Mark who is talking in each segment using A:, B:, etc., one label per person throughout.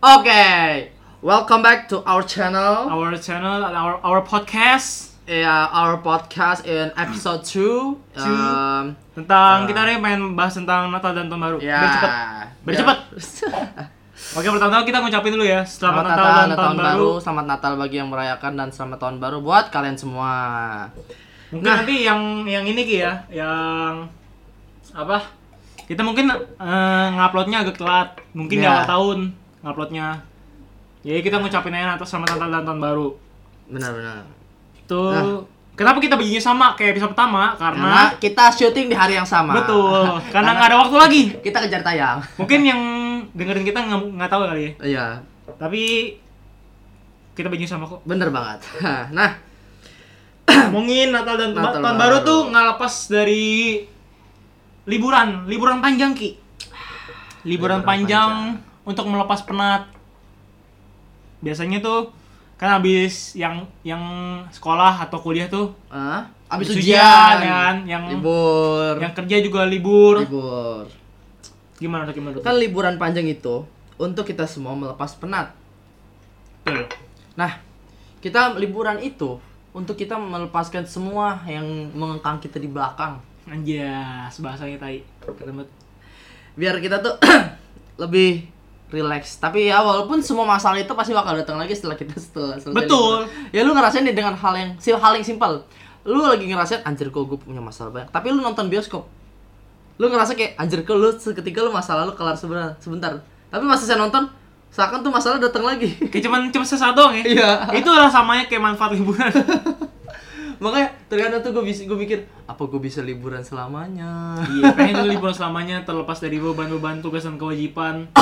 A: Okay, welcome back to our channel.
B: our channel and our our podcast
A: Yeah, our podcast in episode two.
B: Two.
A: Um, Ah.
B: tentang kita hari pengen bahas tentang Natal dan Tahun Baru.
A: yeah.
B: Biar cepet. Biar
A: Yeah.
B: cepet. Oke, pertama-tama kita ngucapin dulu ya
A: Selamat
B: selamat,
A: Natal dan
B: Natal Tahun,
A: Tahun
B: Baru.
A: Baru. Selamat Natal bagi yang merayakan dan selamat Tahun Baru buat kalian semua.
B: Mungkin nanti yang yang ini Ki ya, yang apa? Kita mungkin eh, nguploadnya agak telat, mungkin di
A: Ya.
B: awal tahun nguploadnya. Jadi kita ngucapin aja Natal selamat Natal dan Tahun Baru.
A: Benar-benar.
B: Tuh.
A: Nah.
B: Kenapa kita bikinnya sama kayak episode pertama?
A: Karena
B: Karena,
A: kita syuting di hari yang sama.
B: betul. Karena nggak ada waktu lagi.
A: Kita kejar tayang.
B: Mungkin yang dengerin kita nggak nggak tahu kali ya.
A: Iya,
B: Tapi kita baju sama kok.
A: bener banget. Nah,
B: Ngomongin Natal dan
A: Natal
B: tahun
A: baru.
B: baru tuh nggak lepas dari liburan, liburan panjang Ki. Liburan,
A: Liburan
B: panjang, untuk melepas penat. Biasanya tuh kan habis yang yang sekolah atau kuliah tuh
A: eh, abis
B: Abis
A: ujian,
B: ujian, kan? Yang-
A: libur,
B: yang kerja juga libur.
A: libur.
B: Gimana tuh gimana tuh?
A: Kan liburan panjang itu untuk kita semua melepas penat.
B: Betul.
A: Nah, kita liburan itu untuk kita melepaskan semua yang mengekang kita di belakang.
B: Anjas, bahasanya tai. Ketemu.
A: Biar kita tuh lebih relax. Tapi ya walaupun semua masalah itu pasti bakal datang lagi setelah kita setelah selesai.
B: Betul.
A: liburan. Ya lu ngerasain nih dengan hal yang sim- hal yang simpel. Lu lagi ngerasain anjir kok gue punya masalah banyak. Tapi lu nonton bioskop. Lu ngerasa kayak anjir kok lu seketika lu masalah lu kelar sebentar. sebentar. Tapi pas saya nonton, seakan tuh masalah datang lagi.
B: Kayak cuman cuma sesaat doang ya.
A: Iya.
B: Itulah samanya kayak manfaat liburan.
A: Makanya terkadang tuh gue bisa gue mikir apa gue bisa liburan selamanya.
B: Iya, pengen tuh liburan selamanya terlepas dari beban-beban tugas dan kewajiban.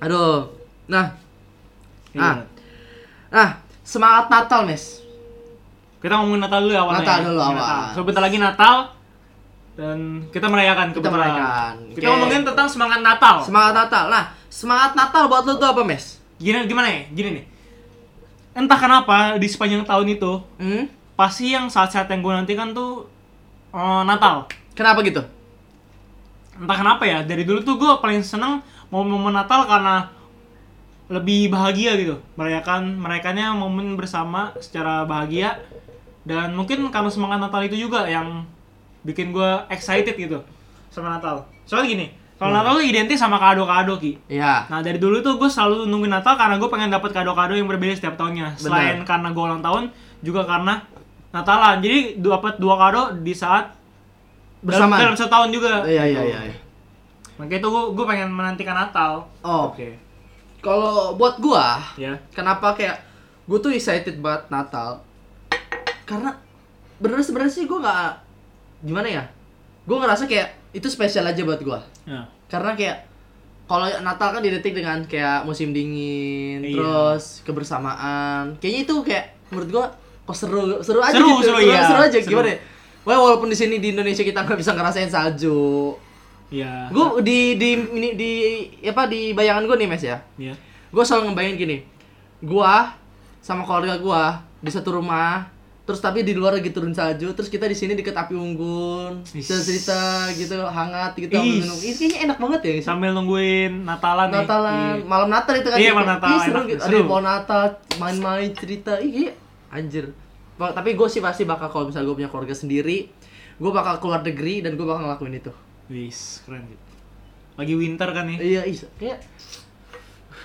A: Aduh. Nah, Ah.
B: Iya.
A: nah semangat Natal, Mes.
B: Kita ngomongin Natal dulu ya, awalnya.
A: Natal dulu
B: Ngomongin
A: awal.
B: Natal. Sebentar lagi Natal dan kita merayakan
A: Kita
B: kebetulan.
A: merayakan.
B: Kita
A: Oke.
B: ngomongin tentang semangat Natal.
A: Semangat Natal. Nah, semangat Natal buat lu tuh apa, Mes?
B: Gini gimana ya? Gini nih. Entah kenapa di sepanjang tahun itu
A: Hmm?
B: pasti yang saat-saat yang gue nantikan tuh eh, Natal.
A: Kenapa gitu?
B: Entah kenapa ya, dari dulu tuh gue paling seneng momen-momen Natal karena lebih bahagia gitu merayakan merayakannya momen bersama secara bahagia dan mungkin karena semangat Natal itu juga yang bikin gue excited gitu sama Natal soalnya gini kalau Natal tuh identik sama kado-kado ki
A: Ya.
B: nah dari dulu tuh gue selalu nungguin Natal karena gue pengen dapat kado-kado yang berbeda setiap tahunnya selain karena gue ulang tahun juga karena Natalan jadi dapat dua kado di saat
A: Bersamaan.
B: dalam, dalam setahun juga
A: Iya, iya, iya. iya.
B: makanya itu gue gue pengen menantikan Natal
A: Oh, kalau buat gua,
B: ya
A: kenapa kayak gue tuh excited banget Natal karena bener sebenarnya sih gue nggak gimana ya gue ngerasa kayak itu spesial aja buat gua
B: Nah,
A: karena kayak kalau Natal kan identik dengan kayak musim dingin
B: Iya.
A: terus kebersamaan kayaknya itu kayak menurut gua kok seru seru aja
B: Seru,
A: gitu
B: seru, iya.
A: seru aja
B: Seru.
A: gimana ya? Wah, walaupun di sini di Indonesia kita nggak bisa ngerasain salju
B: ya
A: gue di di di, di apa di bayangan gue nih Mes ya
B: ya
A: gue selalu ngebayangin gini gua sama keluarga gua di satu rumah terus tapi di luar lagi turun salju terus kita di sini deket api unggun
B: Ish.
A: cerita cerita gitu hangat gitu
B: Ish.
A: minum ini kayaknya enak banget ya
B: sambil nungguin Natalan nih.
A: Natalan
B: Iya.
A: malam Natal itu kan
B: Iya,
A: gitu.
B: malam Natal,
A: Ih, seru
B: enak,
A: gitu
B: seru.
A: ada pohon Natal main-main cerita Ih, iya anjir Ba- tapi gue sih pasti bakal kalau misalnya gue punya keluarga sendiri gue bakal keluar negeri dan gue bakal ngelakuin itu
B: Wis, keren gitu. Lagi winter kan nih.
A: Iya, iya. Kayak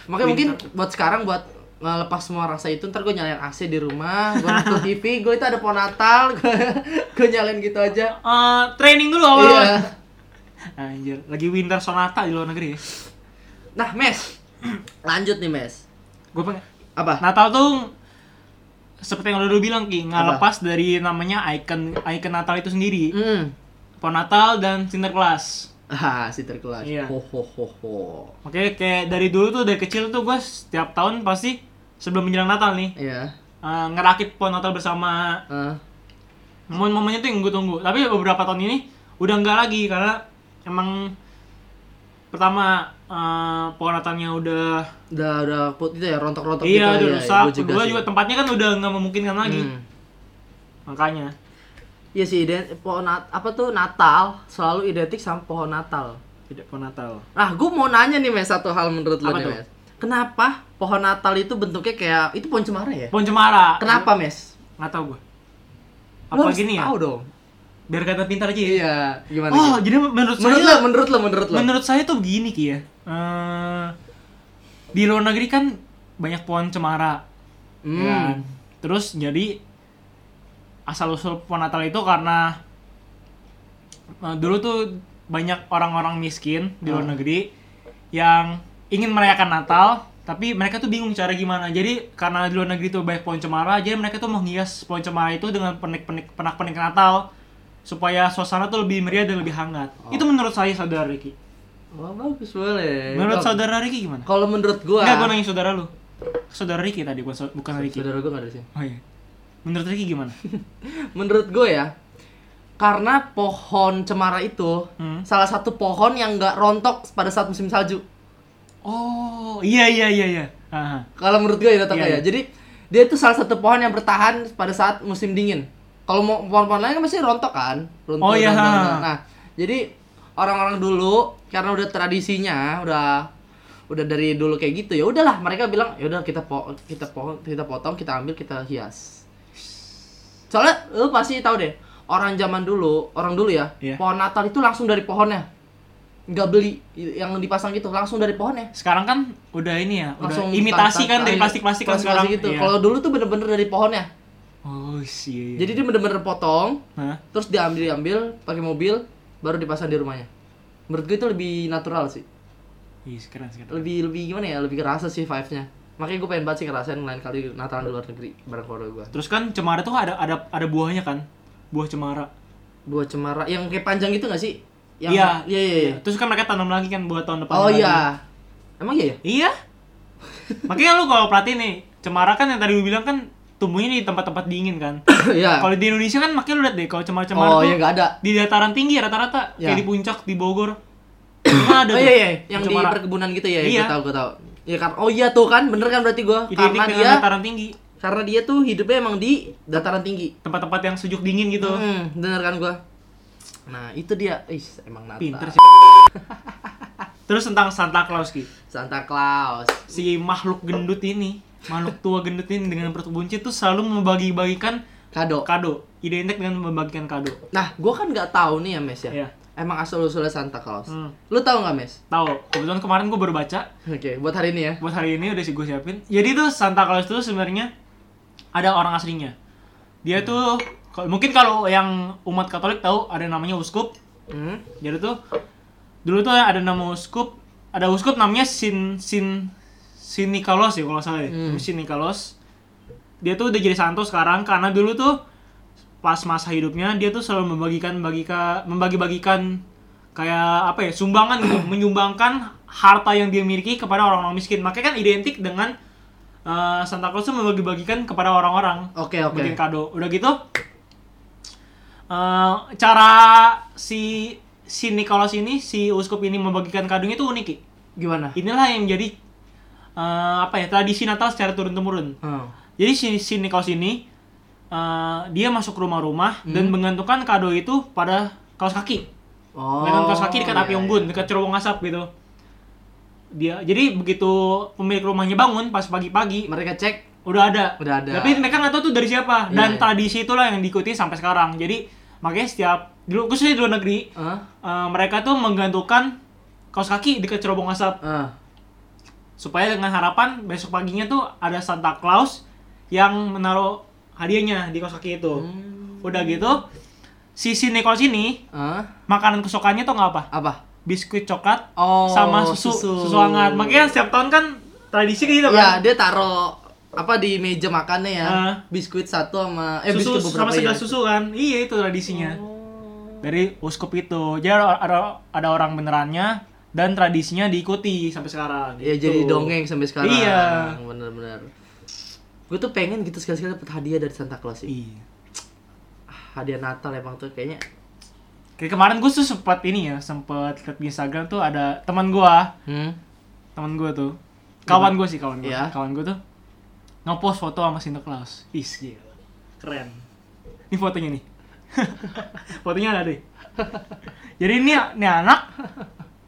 A: Makanya mungkin
B: Winter.
A: buat sekarang buat ngelepas semua rasa itu ntar gue nyalain AC di rumah, gue nonton TV, gue itu ada pohon Natal, gue, gue nyalain gitu aja.
B: Eh, training dulu awal.
A: Iya.
B: Anjir, lagi winter sonata di luar negeri ya.
A: Nah, Mes. Lanjut nih, Mes.
B: Gue pengen
A: Apa?
B: Natal tuh seperti yang udah lu bilang Ki, nggak
A: Apa?
B: lepas dari namanya icon icon Natal itu sendiri.
A: Hmm.
B: Pohon Natal dan Sinterklas.
A: Ah, si terkelas.
B: Iya.
A: Ho ho ho ho.
B: Oke, kayak dari dulu tuh dari kecil tuh gue setiap tahun pasti sebelum menjelang Natal nih
A: Iya.
B: eh, ngerakit pohon Natal bersama
A: Ah,
B: momen-momennya tuh yang gue tunggu tapi beberapa tahun ini udah enggak lagi karena emang pertama eh, pohon natalnya udah
A: udah udah put itu ya rontok-rontok
B: iya udah
A: gitu ya.
B: rusak
A: Gua
B: kedua
A: sih.
B: juga tempatnya kan udah nggak memungkinkan lagi
A: Hmm.
B: makanya
A: Iya sih, ident- pohon nat- apa tuh Natal selalu identik sama pohon Natal.
B: Tidak pohon Natal.
A: Nah, gue mau nanya nih, Mes, satu hal menurut lo nih,
B: Apa tuh?
A: Mes. Kenapa pohon Natal itu bentuknya kayak itu pohon cemara ya?
B: Pohon cemara.
A: Kenapa, Mes?
B: Nggak tahu gue.
A: Lo
B: Apa
A: harus
B: gini ya?
A: Tahu dong.
B: Biar kata pintar aja ya.
A: Iya, gimana?
B: Oh,
A: gitu?
B: jadi menurut,
A: menurut lo,
B: saya
A: menurut lo, menurut lo.
B: menurut saya tuh begini Ki ya. Eh, di luar negeri kan banyak pohon cemara.
A: Hmm.
B: ya kan? Terus jadi asal usul pohon Natal itu karena eh, dulu tuh banyak orang-orang miskin di luar
A: Ah.
B: negeri yang ingin merayakan Natal tapi mereka tuh bingung cara gimana. Jadi karena di luar negeri tuh banyak pohon cemara, jadi mereka tuh menghias pohon cemara itu dengan penik-penik penak-penik Natal supaya suasana tuh lebih meriah dan lebih hangat.
A: Oh.
B: Itu menurut saya saudara Ricky.
A: Wah, Oh, bagus boleh.
B: Menurut
A: Kalau-
B: saudara Ricky gimana?
A: Kalau menurut Eh, gua,
B: Enggak, gue nanya saudara lu. Saudara Ricky tadi, bukan, sau- bukan Ricky.
A: saudara gua nggak ada di sini.
B: Oh iya. Menurut Ricky gimana?
A: Menurut gua ya, karena pohon cemara itu
B: Hmm.
A: salah satu pohon yang nggak rontok pada saat musim salju.
B: Oh, iya iya iya iya. Aha.
A: Kalau menurut gue ya datangnya
B: Iya,
A: ya.
B: iya.
A: Jadi dia itu salah satu pohon yang bertahan pada saat musim dingin. Kalau mau pohon-pohon lain kan pasti rontok kan? Runtuh,
B: Oh, iya.
A: dan- dan- dan. Nah, jadi orang-orang dulu karena udah tradisinya, udah udah dari dulu kayak gitu ya udahlah mereka bilang ya udah kita po kita pohon kita potong kita ambil kita hias soalnya lu pasti tahu deh orang zaman dulu orang dulu ya
B: Iya.
A: pohon Natal itu langsung dari pohonnya nggak beli yang dipasang gitu langsung dari pohonnya
B: Sekarang kan udah ini ya, udah
A: langsung
B: imitasi
A: tan-
B: kan
A: tan-
B: dari
A: iya,
B: plastik-plastik kan
A: plastik-plastik
B: sekarang.
A: gitu.
B: Iya.
A: Kalau dulu tuh bener-bener dari pohonnya.
B: Oh, iya. iya.
A: Jadi dia bener-bener potong,
B: Hah?
A: terus diambil diambil pakai mobil, baru dipasang di rumahnya. Menurut gue itu lebih natural sih.
B: Iya, keren sih, keren.
A: Lebih lebih gimana ya? Lebih kerasa sih vibe-nya. Makanya gue pengen banget sih ngerasain lain kali Natalan di luar negeri bareng keluarga gue.
B: Terus kan cemara tuh ada ada ada buahnya kan? Buah cemara.
A: Buah cemara yang kayak panjang gitu gak sih? Yang,
B: Iya.
A: iya, iya, iya.
B: Terus kan mereka tanam lagi kan buat tahun depan.
A: Oh
B: lagi.
A: iya. Emang iya ya?
B: Iya. Makanya lu kalau perhatiin nih, cemara kan yang tadi lu bilang kan tumbuhnya di tempat-tempat dingin kan.
A: Iya.
B: Kalau di Indonesia kan makanya lu lihat deh kalau cemara-cemara
A: Oh
B: tuh
A: iya gak ada.
B: di dataran tinggi rata-rata
A: Ya.
B: kayak di puncak di Bogor. Cuma ada
A: Oh
B: tuh
A: iya iya, yang
B: cemara.
A: di perkebunan gitu ya,
B: Iya.
A: iya. gue tahu gue tahu. Iya kan, oh iya tuh kan, bener kan berarti gue
B: identik
A: karena
B: dengan
A: dia
B: dataran tinggi
A: karena dia tuh hidupnya emang di dataran tinggi.
B: tempat-tempat yang sejuk dingin gitu
A: Hmm, bener kan gua? Nah, itu dia. Ih, emang Natal.
B: pinter sih terus tentang Santa Claus Ki
A: Santa Claus.
B: si makhluk gendut ini makhluk tua gendut ini dengan perut buncit tuh selalu membagi-bagikan
A: Kado.
B: kado identik dengan membagikan kado
A: Nah, gua kan nggak tahu nih ya, Mes ya.
B: Iya.
A: Emang asal-usulnya Santa Claus.
B: Hmm.
A: Lu tahu nggak, Mes?
B: tahu kebetulan kemarin gue baru baca
A: Oke, buat hari ini ya.
B: buat hari ini udah sih gue siapin jadi tuh Santa Claus tuh sebenarnya ada orang aslinya dia tuh kalau- mungkin kalau yang umat Katolik tahu ada namanya uskup
A: Hmm.
B: Jadi tuh dulu tuh ada nama uskup, ada uskup namanya Sin Sin Sin Nikolos ya kalau nggak salah ya.
A: Hmm.
B: Sin Nikolos. Dia tuh udah jadi santo sekarang karena dulu tuh pas masa hidupnya dia tuh selalu membagikan bagika, membagi-bagikan kayak apa ya sumbangan gitu menyumbangkan harta yang dia miliki kepada orang-orang miskin makanya kan identik dengan eh, Santa Claus tuh membagi-bagikan kepada orang-orang
A: Oke, oke.
B: bikin kado udah gitu eh, cara si si Nicholas ini si uskup ini membagikan kadonya itu unik Ki.
A: Gimana?
B: inilah yang menjadi eh, apa ya tradisi Natal secara turun temurun
A: Hmm.
B: jadi si si Nicholas ini eh, dia masuk rumah-rumah
A: Hmm.
B: dan menggantungkan kado itu pada kaos kaki
A: Oh.
B: Medan kaos kaki dekat
A: iya,
B: kan api
A: iya.
B: unggun, dekat cerowong asap gitu. Dia jadi begitu pemilik rumahnya bangun pas pagi-pagi
A: Mereka cek.
B: udah ada.
A: Udah ada.
B: Tapi mereka nggak tahu tuh dari siapa.
A: Iya,
B: Dan
A: iya.
B: tradisi itulah yang diikuti sampai sekarang. Jadi makanya setiap dulu khususnya di luar negeri
A: Hah?
B: eh, mereka tuh menggantungkan kaos kaki dekat cerobong asap
A: Ah.
B: supaya dengan harapan besok paginya tuh ada Santa Claus yang menaruh hadiahnya di kaos kaki itu.
A: Hmm.
B: Udah gitu sisi Nicholas ini
A: Ah.
B: makanan kesukaannya tuh nggak apa?
A: Apa?
B: Biskuit coklat
A: Oh,
B: sama susu, susu hangat. Makanya setiap tahun kan tradisi kayak gitu kan.
A: Ya, dia taro apa di meja makannya ya.
B: Ah.
A: Biskuit satu sama eh biskuit
B: susu sama
A: beberapa
B: segelas
A: ya.
B: susu kan. Iya itu tradisinya.
A: Oh.
B: Dari uskup itu. Jadi ada, ada- ada orang benerannya dan tradisinya diikuti sampai sekarang.
A: Ya
B: gitu.
A: jadi dongeng sampai sekarang.
B: Iya.
A: Bener-bener. Gue tuh pengen gitu sekali-sekali dapet hadiah dari Santa Claus sih.
B: Iya.
A: Ah, Hadiah Natal emang tuh kayaknya.
B: Kayak kemarin gue tuh sempat ini ya, sempat liat di Instagram tuh ada teman gua,
A: Hmm.
B: teman gua tuh. Kawan gua sih kawan gua.
A: Iya.
B: Kawan gua tuh ngepost foto sama Santa Claus. Ih, gila. Keren. Ini fotonya nih. fotonya ada deh. Jadi ini, ini anak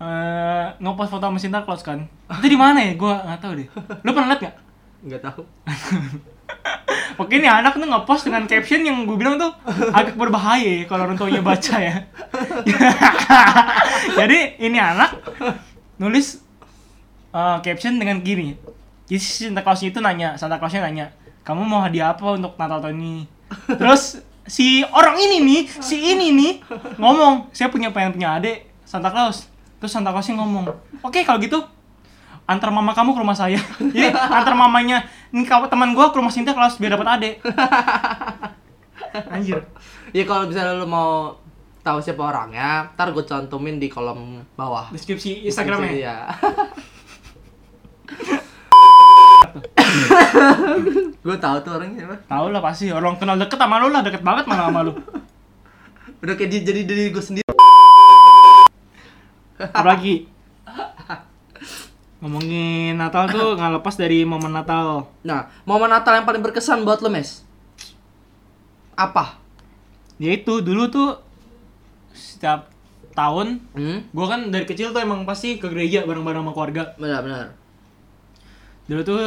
B: eh ngepost foto sama Santa Claus kan itu di mana ya gue nggak tahu deh lu pernah liat nggak
A: nggak tahu
B: Oke nih anak tuh ngepost dengan caption yang gue bilang tuh agak berbahaya ya kalau orang tuanya baca ya. Jadi ini anak nulis eh, caption dengan gini. Jadi si Santa Clausnya itu nanya, Santa Clausnya nanya, kamu mau hadiah apa untuk Natal tahun ini? Terus si orang ini nih, si ini nih ngomong, saya punya pengen punya adik Santa Claus. Terus Santa Clausnya ngomong, oke kalau gitu antar mama kamu ke rumah saya jadi antar mamanya ini kaw- teman gua ke rumah Sinta kelas biar dapat adek anjir
A: ya kalau misalnya lu mau tahu siapa orangnya ntar gue cantumin di kolom bawah
B: deskripsi Instagramnya
A: Iya. gue tahu tuh orangnya siapa.
B: tahu lah pasti orang kenal deket sama lu lah deket banget malah sama lu
A: Udah kayak di- jadi diri gue sendiri.
B: apalagi ngomongin Natal tuh nggak lepas dari momen Natal
A: Nah, momen Natal yang paling berkesan buat lo, Mes? Apa?
B: yaitu Ya dulu tuh setiap tahun
A: Hmm?
B: gua kan dari kecil tuh emang pasti ke gereja bareng-bareng sama keluarga
A: Benar-benar.
B: dulu tuh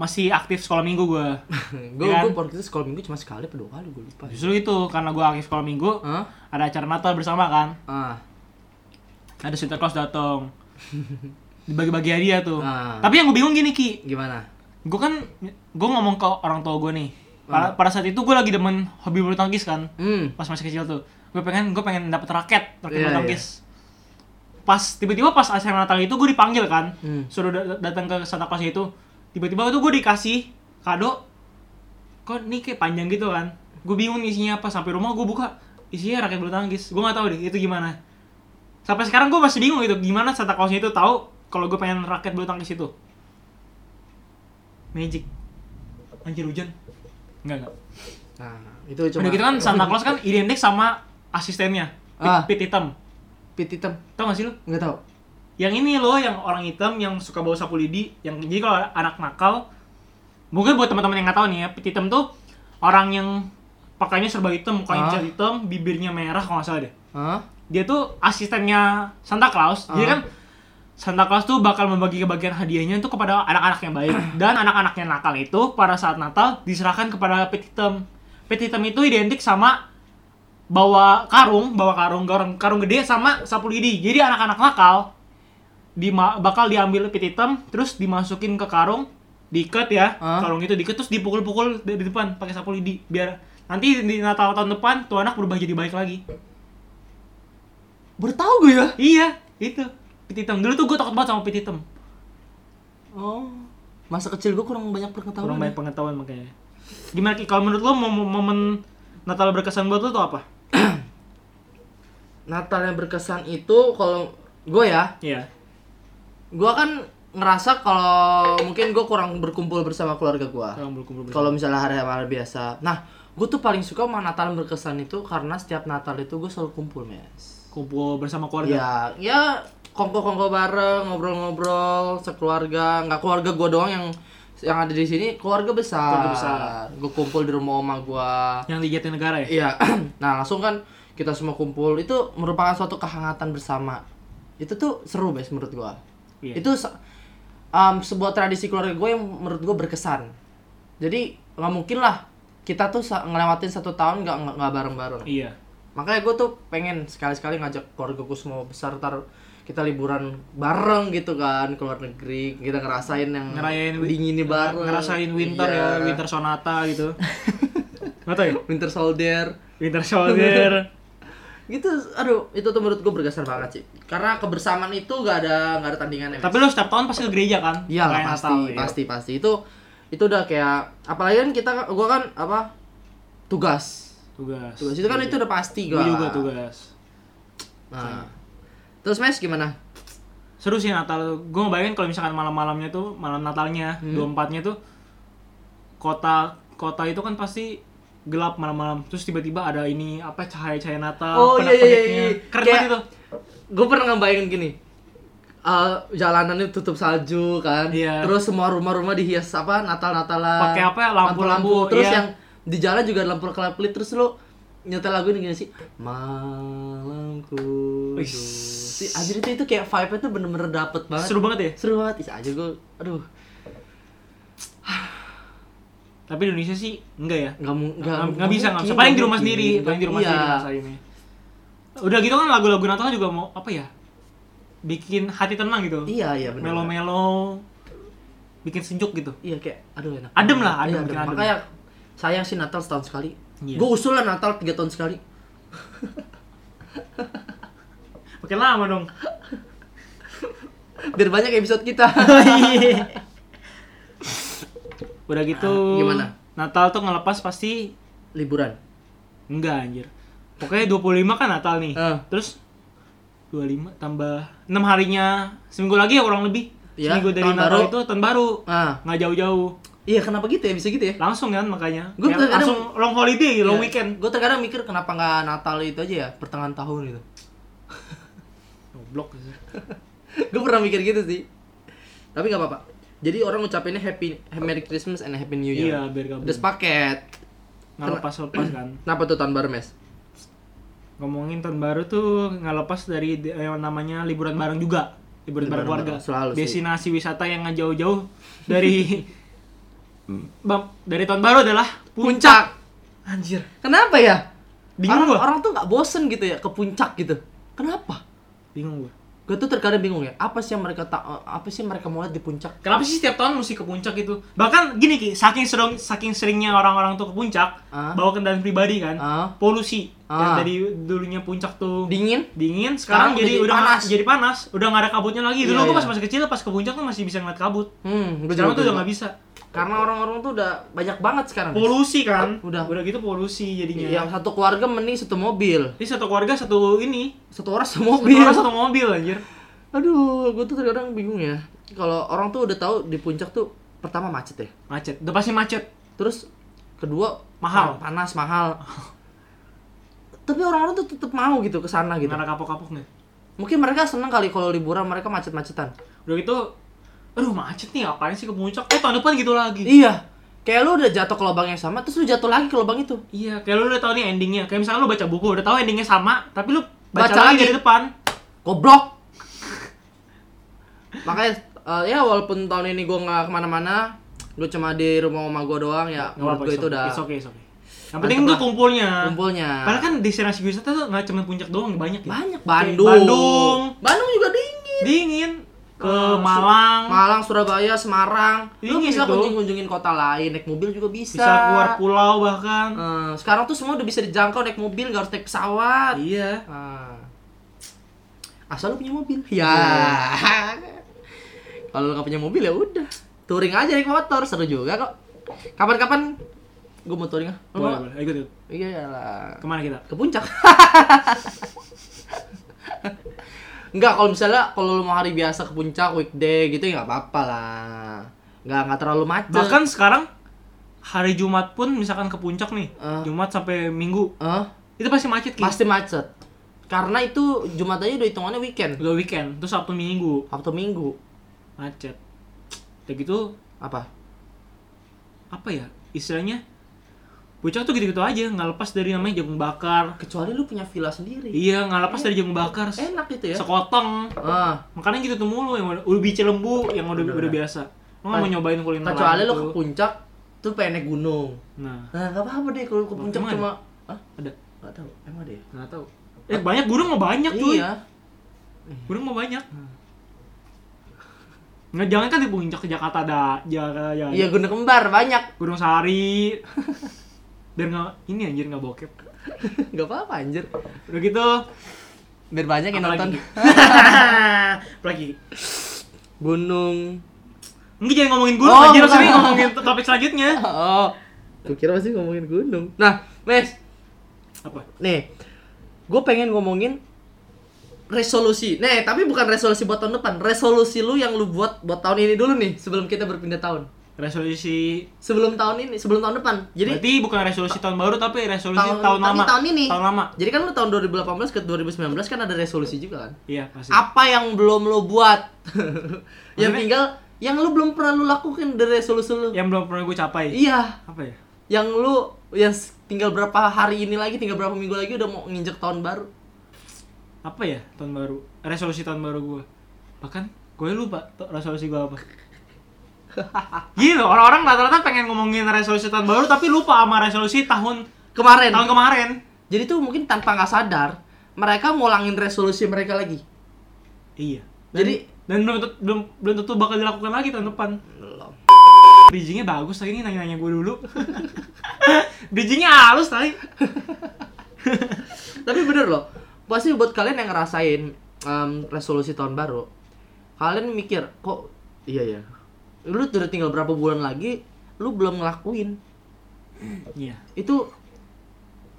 B: masih aktif sekolah minggu gua
A: gue
B: Iya kan?
A: gue waktu itu sekolah minggu cuma sekali apa dua kali gue lupa.
B: justru itu karena gua aktif sekolah minggu
A: Hah?
B: ada acara Natal bersama kan
A: Ah.
B: ada Santa Claus datang dibagi-bagi hadiah tuh
A: Ah.
B: tapi yang gue bingung gini ki
A: Gimana?
B: gue kan gue ngomong ke orang tua gue nih pada, pada saat itu gue lagi demen hobi bulu tangkis kan
A: Hmm.
B: pas masih kecil tuh gue pengen gue pengen dapet raket raket
A: Iya,
B: bulu tangkis pas tiba-tiba pas acara Natal itu gue dipanggil kan
A: Hmm.
B: suruh da- datang ke Santa Claus itu tiba-tiba itu gue dikasih kado kok nih kayak panjang gitu kan gue bingung isinya apa sampai rumah gue buka isinya rakyat bulu tangkis gue nggak tahu deh itu gimana sampai sekarang gue masih bingung gitu gimana Santa Clausnya itu tahu kalau gue pengen rakyat bulu tangkis itu magic anjir hujan enggak enggak
A: Nah, itu
B: Cuma...
A: cuma
B: gitu kan Santa Claus kan identik sama asistennya pit,
A: Ah.
B: pit hitam
A: pit hitam.
B: tau gak sih lu
A: Enggak tahu.
B: yang ini loh yang orang hitam yang suka bawa sapu lidi yang jadi kalau anak nakal mungkin buat teman-teman yang nggak tahu nih ya pit hitam tuh orang yang pakainya serba hitam
A: Ah.
B: mukanya cat hitam bibirnya merah kalau nggak salah deh
A: Hah?
B: dia tuh asistennya Santa Claus jadi
A: Ah.
B: kan Santa Claus tuh bakal membagi bagian hadiahnya itu kepada anak-anak yang baik dan anak-anak yang nakal itu pada saat Natal diserahkan kepada pit hitam pit hitam itu identik sama bawa karung bawa karung karung, karung gede sama sapu lidi jadi anak-anak nakal di bakal diambil pit hitam terus dimasukin ke karung diikat ya
A: Ah.
B: karung itu diikat terus dipukul-pukul di, di depan pakai sapu lidi biar nanti di Natal tahun depan tuh anak berubah jadi baik lagi
A: Baru tahu gue ya.
B: Iya, itu. Pit hitam. Dulu tuh gue takut banget sama pit hitam.
A: Oh. Masa kecil gue kurang banyak pengetahuan.
B: Kurang
A: ya.
B: banyak pengetahuan makanya. Gimana Ki? Kalau menurut lo mom- momen Natal berkesan buat lo tuh apa?
A: Natal yang berkesan itu kalau gue ya,
B: Iya.
A: gue kan ngerasa kalau mungkin gue kurang berkumpul bersama keluarga gue.
B: Kalau berkumpul bersama.
A: Kalau misalnya hari-hari biasa. Nah, gue tuh paling suka sama Natal yang berkesan itu karena setiap Natal itu gue selalu kumpul, Mes.
B: Kumpul bersama keluarga.
A: Ya, ya kongko-kongko bareng, ngobrol-ngobrol sekeluarga, nggak keluarga gue doang yang yang ada di sini keluarga besar.
B: Keluarga besar.
A: Gue kumpul di rumah oma gue.
B: Yang di Jatinegara ya?
A: Iya. nah, langsung kan kita semua kumpul. Itu merupakan suatu kehangatan bersama. Itu tuh seru, Bes, menurut gua.
B: Iya.
A: Itu se- um, sebuah tradisi keluarga gue yang menurut gue berkesan. Jadi nggak mungkin lah kita tuh sa- ngelewatin satu tahun nggak nggak- nggak bareng-bareng.
B: Iya.
A: Makanya gue tuh pengen sekali-sekali ngajak keluarga gue semua besar ntar kita liburan bareng gitu kan ke luar negeri kita ngerasain yang
B: Ngerayain wi-
A: dinginnya bareng
B: Ngerasain winter
A: Iya.
B: ya, winter sonata gitu. Nggak tahu ya?
A: winter soldier
B: Winter soldier.
A: gitu aduh itu tuh menurut gue berkesan banget sih karena kebersamaan itu gak ada gak ada tandingannya
B: Tapi lo setiap tahun pasti ke gereja kan?
A: iya lah
B: Perayaan
A: pasti
B: Natal, iya.
A: pasti pasti itu itu udah kayak apalagi kan kita gue kan apa tugas
B: Tugas.
A: tugas itu kan itu udah pasti gue
B: Gue Iya. juga tugas.
A: nah. terus mes gimana
B: seru sih Natal gue ngebayangin kalau misalkan malam-malamnya tuh malam Natalnya
A: Hmm.
B: 24-nya tuh kota kota itu kan pasti gelap malam-malam terus tiba-tiba ada ini apa cahaya-cahaya Natal
A: Oh, iya, iya,
B: penak-penaknya.
A: iya, iya.
B: keren
A: Kayak-
B: banget itu
A: gue pernah ngebayangin gini Eh jalanannya tutup salju kan
B: Iya.
A: terus semua rumah-rumah dihias apa natal natalan
B: Pakai apa ya, lampu-lampu,
A: terus
B: iya.
A: yang di jalan juga ada lampu kelap kelip terus lu nyetel lagu ini gini sih malamku
B: Wih.
A: duduk sih anjir itu itu kayak vibe-nya tuh bener-bener dapet banget
B: Seru banget ya?
A: seru banget Is aja gue aduh
B: Tapi di Indonesia sih enggak ya.
A: nggak mu- nggak
B: Nggak nggak bisa nggak bisa.
A: mungkin, gitu
B: Paling di rumah
A: mungkin.
B: sendiri, paling di rumah
A: Iya.
B: sendiri ngerasainnya. Udah gitu kan lagu-lagu Natal juga mau apa ya? Bikin hati tenang gitu.
A: iya iya bener
B: Melo-melo bikin sejuk gitu.
A: iya kayak aduh enak
B: Adem lah, adem,
A: Iya,
B: bikin adem.
A: makanya sayang sih Natal setahun sekali
B: Iya.
A: gue usul lah Natal tiga tahun sekali
B: Makin lama dong.
A: biar banyak episode kita
B: Oh, iya. Udah gitu.
A: Ah, Gimana?
B: Natal tuh ngelepas pasti
A: liburan
B: enggak anjir. Pokoknya 25 kan Natal nih.
A: Eh.
B: Terus 25 tambah 6 harinya seminggu lagi ya kurang lebih.
A: Iya,
B: seminggu dari
A: tahun
B: Natal
A: baru.
B: itu tahun baru.
A: ah
B: Nggak jauh-jauh.
A: iya kenapa gitu ya bisa gitu ya
B: Langsung kan makanya.
A: Gua Iya.
B: Kayak
A: terkadang-
B: langsung long holiday, long weekend.
A: gue terkadang mikir kenapa nggak Natal itu aja ya pertengahan tahun gitu
B: Goblok sih.
A: gue pernah mikir gitu sih tapi nggak apa-apa jadi orang ngucapinnya happy Merry Christmas and Happy New Year
B: Iya, biar gabung.
A: udah sepaket
B: Nggak lepas-lepas kan.
A: kenapa tuh tahun baru mes
B: Ngomongin tahun baru tuh nggak lepas dari de- yang namanya liburan bareng juga. Liburan bareng
A: Liburan
B: keluarga.
A: bareng, selalu sih.
B: Destinasi wisata yang nggak jauh-jauh dari Bam- dari tahun baru adalah
A: puncak
B: puncak. Anjir.
A: kenapa ya
B: Bingung
A: orang,
B: gua.
A: orang tuh nggak bosen gitu ya ke puncak gitu kenapa
B: Bingung gua.
A: gue tuh terkadang bingung ya apa sih yang mereka ta- apa sih yang mereka mau lihat di puncak
B: Kenapa sih setiap tahun mesti ke puncak itu? Bahkan gini Ki, saking sering saking seringnya orang-orang tuh ke puncak,
A: Ah.
B: bawa kendaraan pribadi kan.
A: Ah.
B: Polusi. Yang
A: Ah.
B: tadi dulunya puncak tuh
A: dingin
B: dingin, sekarang,
A: Sekarang
B: jadi,
A: jadi
B: udah
A: panas.
B: jadi panas, udah nggak ada kabutnya lagi.
A: Iya,
B: Dulu gua
A: iya.
B: pas masih kecil pas ke puncak tuh masih bisa ngeliat kabut.
A: hmm gua
B: Sekarang
A: juga-
B: tuh udah
A: gua
B: nggak bisa.
A: juga. karena orang-orang tuh udah banyak banget sekarang Mes.
B: Polusi kan?
A: Udah.
B: Udah gitu polusi jadinya.
A: yang satu keluarga mending satu mobil
B: Jadi satu keluarga satu ini,
A: satu orang satu
B: satu
A: mobil
B: orang satu mobil anjir.
A: aduh gue tuh terkadang bingung ya kalau orang tuh udah tahu di puncak tuh pertama macet ya
B: Macet. Udah pasti macet.
A: terus kedua
B: Mahal.
A: pan- panas mahal tapi orang-orang tuh tetap mau gitu ke sana gitu
B: Nggak ada kapok-kapok nggak?
A: mungkin mereka seneng kali kalau liburan mereka macet-macetan
B: Udah gitu, aduh macet nih, apaan sih ke puncak? Eh tahun depan gitu lagi.
A: iya kayak lu udah jatuh ke lubang yang sama terus lu jatuh lagi ke lubang itu
B: Iya, kayak lu udah tahu nih endingnya. Kayak misalnya lu baca buku, udah tahu endingnya sama, tapi lu baca,
A: Baca
B: lagi
A: lagi.
B: dari depan.
A: goblok makanya eh, ya walaupun tahun ini gue nggak kemana-mana gue cuma di rumah oma gue doang ya
B: Nggak apa-apa,
A: menurut gue
B: it's
A: itu
B: okay,
A: udah
B: it's okay, it's okay. Yang penting tuh
A: lah.
B: kumpulnya.
A: kumpulnya
B: Padahal kan destinasi wisata tuh nggak cuma puncak doang, banyak ya.
A: banyak
B: Kayak
A: Bandung
B: Bandung.
A: Bandung juga dingin
B: Dingin ke
A: Ah, Su-
B: Malang,
A: Malang Surabaya Semarang lu
B: Dingin
A: bisa
B: itu.
A: kunjung-kunjungin kota lain naik mobil juga bisa
B: bisa keluar pulau bahkan.
A: Eh, sekarang tuh semua udah bisa dijangkau naik mobil gak harus naik pesawat
B: Iya.
A: Ah. Asal lu punya mobil. Ya. Kalau lu gak punya mobil ya udah. Touring aja naik motor seru juga kok. Kapan-kapan gue mau touring ah. Lu mau
B: Boleh,
A: nggak?
B: boleh. Ikut, ikut.
A: Iya lah.
B: Kemana kita?
A: Ke puncak. Enggak, kalau misalnya kalau lu mau hari biasa ke puncak weekday gitu ya nggak apa-apa lah. Nggak nggak terlalu macet.
B: Bahkan sekarang hari Jumat pun misalkan ke puncak nih,
A: Ah.
B: Jumat sampai Minggu,
A: Eh,
B: itu pasti macet Ki.
A: pasti macet. Karena itu Jumat aja udah hitungannya weekend.
B: Udah weekend, terus Sabtu Minggu
A: Sabtu Minggu
B: macet. Udah gitu
A: apa?
B: apa ya istilahnya puncak tuh gitu-gitu aja nggak lepas dari namanya jagung bakar
A: Kecuali lu punya villa sendiri.
B: iya nggak lepas dari jagung bakar se-
A: enak gitu ya
B: sekotong
A: ah
B: makanya gitu tuh mulu yang udah- ubi cilembu yang udah
A: Udah,
B: udah
A: udah.
B: biasa lo nggak mau
A: Nah,
B: nyobain kuliner lain
A: kecuali lu
B: tuh.
A: ke puncak tuh pengen naik gunung
B: nah
A: nah gak apa-apa deh kalau ke puncak
B: Emang
A: cuma ah
B: ada
A: gak tahu emang deh
B: nggak tahu eh banyak gunung mau banyak cuy
A: iya
B: gunung mau banyak
A: Hmm.
B: nggak jangan kan di puncak ke Jakarta ada Jakarta ya
A: iya gunung kembar banyak
B: Gunung Sari biar nggak ini anjir nggak bokep
A: gak apa-apa anjir
B: udah gitu
A: biar banyak yang
B: apa lagi?
A: nonton
B: Apa lagi
A: gunung
B: Enggak jangan ngomongin gunung
A: Oh,
B: aja,
A: bukan.
B: maksudnya ngomongin topik selanjutnya.
A: oh gue kira masih ngomongin gunung nah mes
B: Apa?
A: nih gue pengen ngomongin resolusi nih tapi bukan resolusi buat tahun depan resolusi lu yang lu buat buat tahun ini dulu nih sebelum kita berpindah tahun
B: Resolusi.
A: sebelum tahun ini sebelum tahun depan jadi
B: Berarti bukan resolusi tahun baru tapi resolusi
A: tahun
B: tahun,
A: tapi
B: lama.
A: tahun ini.
B: Tahun lama.
A: Jadi kan lu tahun 2018 ke 2019 kan ada resolusi juga kan?
B: Iya, pasti.
A: Apa yang belum lu buat? yang
B: Maksudnya?
A: tinggal yang lu belum pernah lu lakukan dari resolusi lu.
B: Yang belum pernah gue capai.
A: Iya,
B: Apa ya?
A: yang lu yang s- tinggal berapa hari ini lagi, tinggal berapa minggu lagi udah mau nginjek tahun baru.
B: apa ya tahun baru resolusi tahun baru gue bahkan gue lupa to- resolusi gue apa gitu orang-orang rata-rata pengen ngomongin resolusi tahun baru tapi lupa sama resolusi tahun
A: Kemarin.
B: tahun kemarin
A: Jadi tuh mungkin tanpa nggak sadar mereka ngulangin resolusi mereka lagi.
B: iya
A: Jadi-
B: dan belum tet- belum belum tentu bakal dilakukan lagi tahun depan
A: Belum.
B: bridgingnya bagus tadi nih nanya-nanya gue dulu bridgingnya halus tadi
A: Tapi bener loh. Pasti buat kalian yang ngerasain em, resolusi tahun baru, kalian mikir kok iya ya. Lu udah tinggal berapa bulan lagi, lu belum ngelakuin.
B: iya
A: itu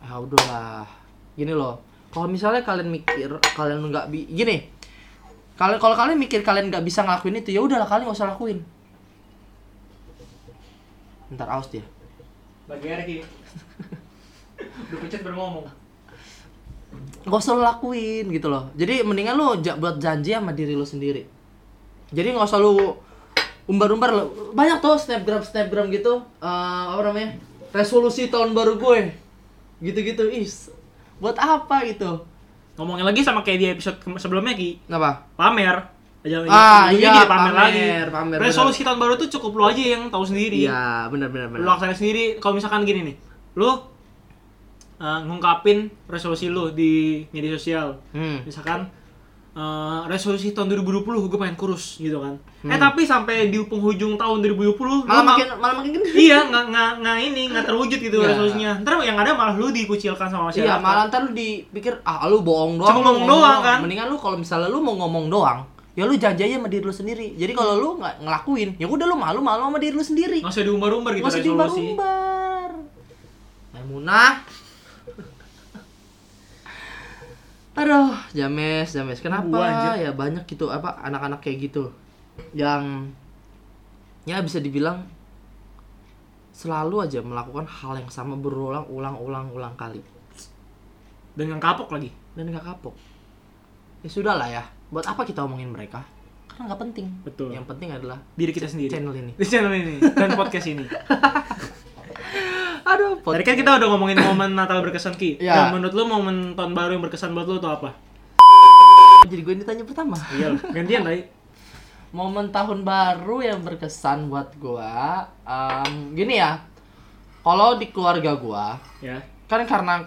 A: ah udahlah gini loh kalau misalnya kalian mikir kalian nggak bi gini kalian kalau kalian mikir kalian nggak bisa ngelakuin itu ya udahlah kalian nggak usah lakuin ntar aus dia
B: bagi Erki udah pecet berngomong
A: nggak usah lo lakuin gitu loh jadi mendingan lo ja- buat janji sama diri lo sendiri jadi nggak usah lo umbar-umbar lo banyak tuh snapgram snapgram gitu eh, apa namanya resolusi tahun baru gue gitu-gitu is buat apa gitu
B: ngomongin lagi sama kayak di episode kem- sebelumnya Ki
A: kenapa
B: pamer aja
A: Ah,
B: Jadi
A: iya,
B: jadi pamer,
A: pamer,
B: lagi
A: pamer,
B: resolusi tahun baru tuh cukup lo aja yang tahu sendiri
A: Iya, benar-benar
B: lo
A: benar.
B: laksanain sendiri kalau misalkan gini nih lo eh, ngungkapin resolusi lo di media sosial
A: Hmm.
B: misalkan eh, resolusi tahun 2020 gue pengen kurus gitu kan eh
A: Hmm.
B: tapi sampai di penghujung tahun 2020 lu
A: Malah
B: ma-
A: makin malah makin gede.
B: iya nggak nggak nggak ini nggak terwujud gitu
A: Iya.
B: resolusinya ntar yang ada malah lu dikucilkan sama masyarakat
A: Iya, malah ntar lu dipikir ah lu bohong doang.
B: Cuma
A: lu
B: ngomong doang, kan?
A: Mendingan lu kalau misalnya lu mau ngomong doang, ya lu janji aja sama diri lu sendiri. Jadi kalau lu nggak ngelakuin, ya udah lu malu malu sama diri lu sendiri.
B: nggak usah diumbar-umbar gitu
A: Masih
B: resolusi
A: diumbar-umbar. Maimunah. Aduh, James, James. Kenapa
B: Gua anjir.
A: ya banyak gitu apa anak-anak kayak gitu yang ya bisa dibilang selalu aja melakukan hal yang sama berulang-ulang-ulang-ulang kali
B: dan yang kapok lagi
A: dan nggak kapok. Ya sudahlah ya. Buat apa kita omongin mereka? Karena nggak penting.
B: Betul.
A: Yang penting adalah
B: diri kita sendiri
A: channel ini.
B: di channel ini dan podcast ini
A: Aduh, pot-
B: tadi kan kita udah ngomongin momen Natal berkesan Ki
A: Iya.
B: Nah, menurut lu momen tahun baru yang berkesan buat lu tuh apa
A: jadi gue yang ditanya pertama.
B: iya loh gantian tadi
A: momen tahun baru yang berkesan buat gua em, gini ya kalau di keluarga gua
B: ya
A: kan karena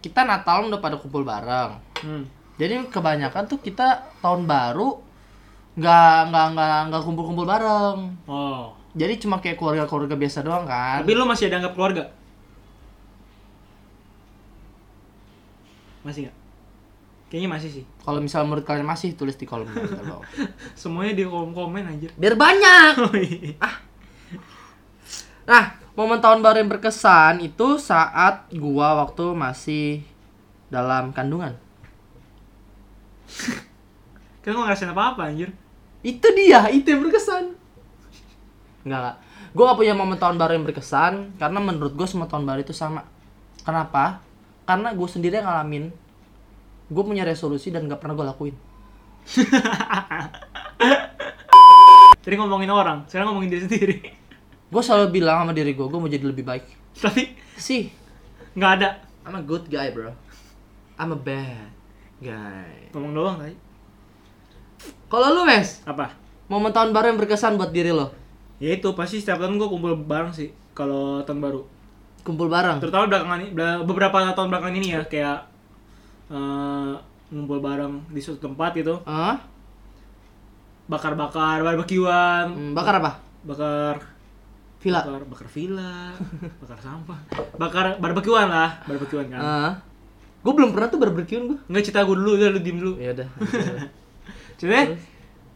A: kita Natal udah pada kumpul bareng
B: hmm.
A: jadi kebanyakan tuh kita tahun baru nggak nggak nggak nggak kumpul-kumpul bareng
B: oh
A: jadi cuma kayak keluarga-keluarga biasa doang kan
B: Tapi lu masih ada anggap keluarga? Masih nggak? Kayaknya masih sih.
A: kalau misal menurut kalian masih tulis di kolom komentar bawah.
B: Semuanya di kolom komen aja.
A: biar banyak
B: Oh, iya.
A: Nah, momen tahun baru yang berkesan itu saat gua waktu masih dalam kandungan.
B: Kan gua ngerasain apa-apa anjir.
A: Itu dia, itu yang berkesan. Enggak, enggak. Gua gak punya momen tahun baru yang berkesan karena menurut gua semua tahun baru itu sama. Kenapa? Karena gua sendiri yang ngalamin. Gua punya resolusi dan gak pernah gua lakuin.
B: Tadi ngomongin orang, sekarang ngomongin diri sendiri.
A: Gua selalu bilang sama diri gua, gua mau jadi lebih baik.
B: Tapi
A: Sih,
B: nggak ada.
A: I'm a good guy, bro. I'm a bad guy.
B: Ngomong doang tadi.
A: Kalau lu, Mes,
B: Apa?
A: momen tahun baru yang berkesan buat diri lo?
B: Ya itu pasti setiap tahun gua kumpul bareng sih kalau tahun baru.
A: Kumpul bareng.
B: Terutama belakangan ini, bela- beberapa tahun belakangan ini ya kayak eh, ngumpul bareng di suatu tempat gitu,
A: Hah?
B: bakar-bakar, barbekyuan,
A: Hmm, bakar apa?
B: bakar
A: Villa.
B: bakar bakar villa bakar sampah bakar barbekyuan lah barbekyuan kan
A: Heeh. gue belum pernah tuh barbekyuan gue.
B: nggak cerita gue dulu udah lu diem dulu
A: Ya udah.
B: cerita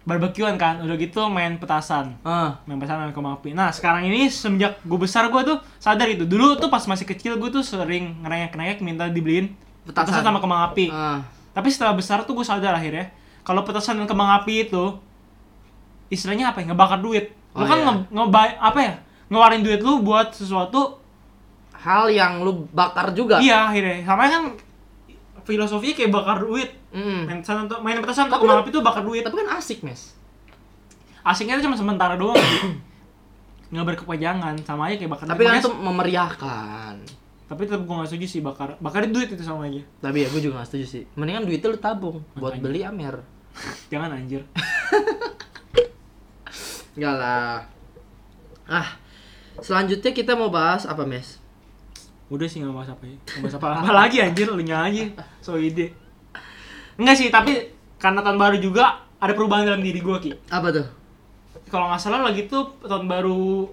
B: barbekyuan kan udah gitu main petasan
A: Ah,
B: main petasan sama koma api nah sekarang ini semenjak gue besar gue tuh sadar itu dulu tuh pas masih kecil gue tuh sering ngerengek-ngerengek minta dibeliin petasan,
A: Petasan.
B: sama kembang api
A: ah.
B: tapi setelah besar tuh gue sadar akhirnya kalau petasan dan kembang api itu istilahnya apa ya ngebakar duit lu
A: Oh,
B: kan
A: iya.
B: nge, ngebay- apa ya ngeluarin duit lu buat sesuatu
A: Hal yang lu bakar juga.
B: Iya akhirnya, sama kan filosofinya kayak bakar duit.
A: Mm.
B: Main pesan tuh, main petasan tuh
A: Tapi
B: kemana itu bakar duit.
A: Tapi kan asik, Mes.
B: Asiknya tuh cuma sementara doang. Nggak berkepanjangan, sama aja kayak bakar
A: Tapi kan
B: Makanya
A: itu memeriahkan.
B: se- tapi tetap gue gak setuju sih bakar bakar duit itu sama aja
A: Tapi ya gue juga gak setuju sih. Mendingan duitnya lu tabung buat
B: Makanya.
A: beli Amer.
B: jangan anjir
A: Enggak lah. Ah. Selanjutnya kita mau bahas apa, Mes?
B: udah sih nggak bahas apa ya nggak bahas apa apa lagi anjir lu nya aja so ide enggak sih tapi karena tahun baru juga ada perubahan dalam diri gue ki
A: Apa tuh?
B: kalau nggak salah lagi tuh tahun baru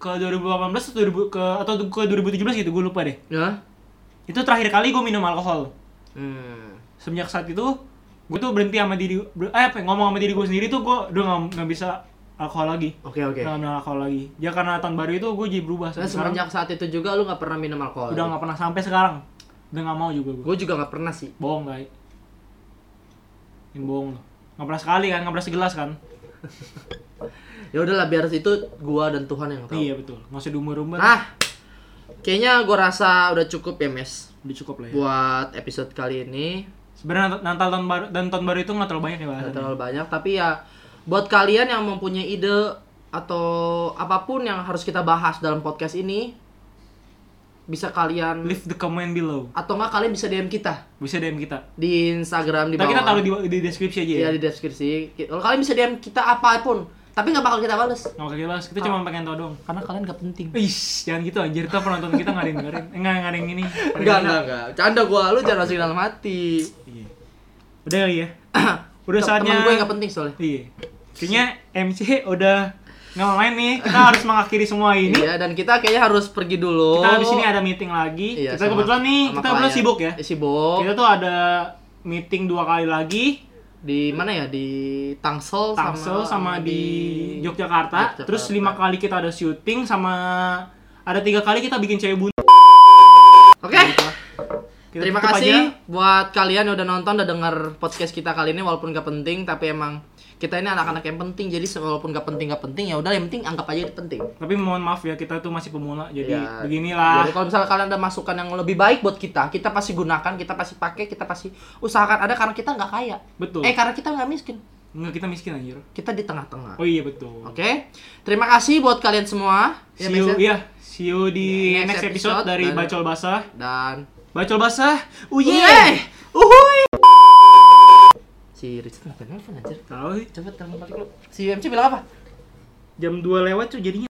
B: ke 2018 atau 2000 ke atau ke 2017 gitu gue lupa deh
A: Ya?
B: itu terakhir kali gue minum alkohol
A: Hmm.
B: semenjak saat itu gue tuh berhenti sama diri ber- eh apa ya, ngomong sama diri gue sendiri tuh gue udah nggak- nggak bisa alkohol lagi
A: Oke, oke.
B: nggak minum alkohol lagi ya karena tahun baru itu gue jadi berubah
A: Nah,
B: sampai sekarang
A: semenjak saat itu juga lu nggak pernah minum alkohol.
B: udah nggak pernah sampai sekarang udah nggak mau juga gue
A: Gue juga nggak pernah sih.
B: bohong guys yang bohong lo nggak pernah sekali kan nggak pernah segelas kan
A: Ya udahlah biar itu gua dan Tuhan yang tahu.
B: iya betul nggak usah diumur umur
A: Nah, kayaknya gua rasa udah cukup ya, Mes.
B: udah cukup lah ya
A: Buat episode kali ini
B: sebenarnya nat- Natal tahun baru dan tahun baru itu nggak terlalu banyak ya
A: nggak
B: bahasannya
A: terlalu banyak, tapi ya buat kalian yang mempunyai ide atau apapun yang harus kita bahas dalam podcast ini bisa kalian
B: leave the comment below
A: atau nggak kalian bisa DM kita
B: bisa dm kita
A: di Instagram di
B: Ntar
A: bawah.
B: kita taruh di, di deskripsi aja ya
A: ya di deskripsi. Kalau kalian bisa DM kita apapun, tapi nggak bakal kita bales
B: nggak bakal jelas
A: Ah.
B: kita cuma pengen tau doang
A: karena kalian nggak penting.
B: Ish, jangan gitu anjir, tuh penonton kita nggak ada yang dengerin Eh, Nggak, nggak ada yang ini Pada
A: Enggak,
B: nggak-
A: enggak, enggak. Canda gua, lu jangan masukin dalam hati.
B: Iya. Udah kali ya? Udah
A: Tem-
B: saatnya
A: Temen gue enggak penting soalnya.
B: Iya Kayaknya MC udah nggak mau main nih Kita harus mengakhiri semua ini
A: Iya, dan kita kayaknya harus pergi dulu.
B: Kita habis ini ada meeting lagi
A: Oh. Iya,
B: Kita
A: sama-
B: kebetulan nih,
A: sama
B: kita kebetulan
A: klien.
B: sibuk ya
A: Eh, Sibuk.
B: Kita tuh ada meeting dua kali lagi
A: Di mana ya? Di Tangsel,
B: Tangsel sama, di Yogyakarta.
A: Yogyakarta.
B: Terus lima kali kita ada syuting sama ada tiga kali kita bikin cewek bunuh
A: Oke.
B: Kita
A: Terima
B: tutup
A: kasih
B: aja.
A: buat kalian yang udah nonton dan denger podcast kita kali ini walaupun gak penting tapi emang kita ini anak-anak yang penting jadi se- walaupun gak penting gak penting ya udah yang penting anggap aja itu penting.
B: Tapi mohon maaf ya kita tuh masih pemula jadi
A: Ya,
B: beginilah
A: Jadi kalau misalnya kalian ada masukan yang lebih baik buat kita, kita pasti gunakan, kita pasti pakai, kita pasti usahakan ada karena kita nggak kaya.
B: Betul.
A: Eh karena kita nggak miskin,
B: Enggak kita miskin anjir.
A: kita di tengah-tengah. Oke,
B: Oh iya betul.
A: terima kasih buat kalian semua. Ya,
B: See you,
A: Mes, ya?
B: iya, see you di
A: Iya, Next
B: next,
A: episode Oh,
B: episode, dari
A: dan-
B: Bacol Basah.
A: Dan
B: Bacol Basah. Oh, Uye.
A: Uye! uhuy. Si Richard nggak nelfon anjir.
B: Tahu sih
A: Coba telepon balik lu. Si UMC bilang apa?
B: jam 2 lewat tuh jadinya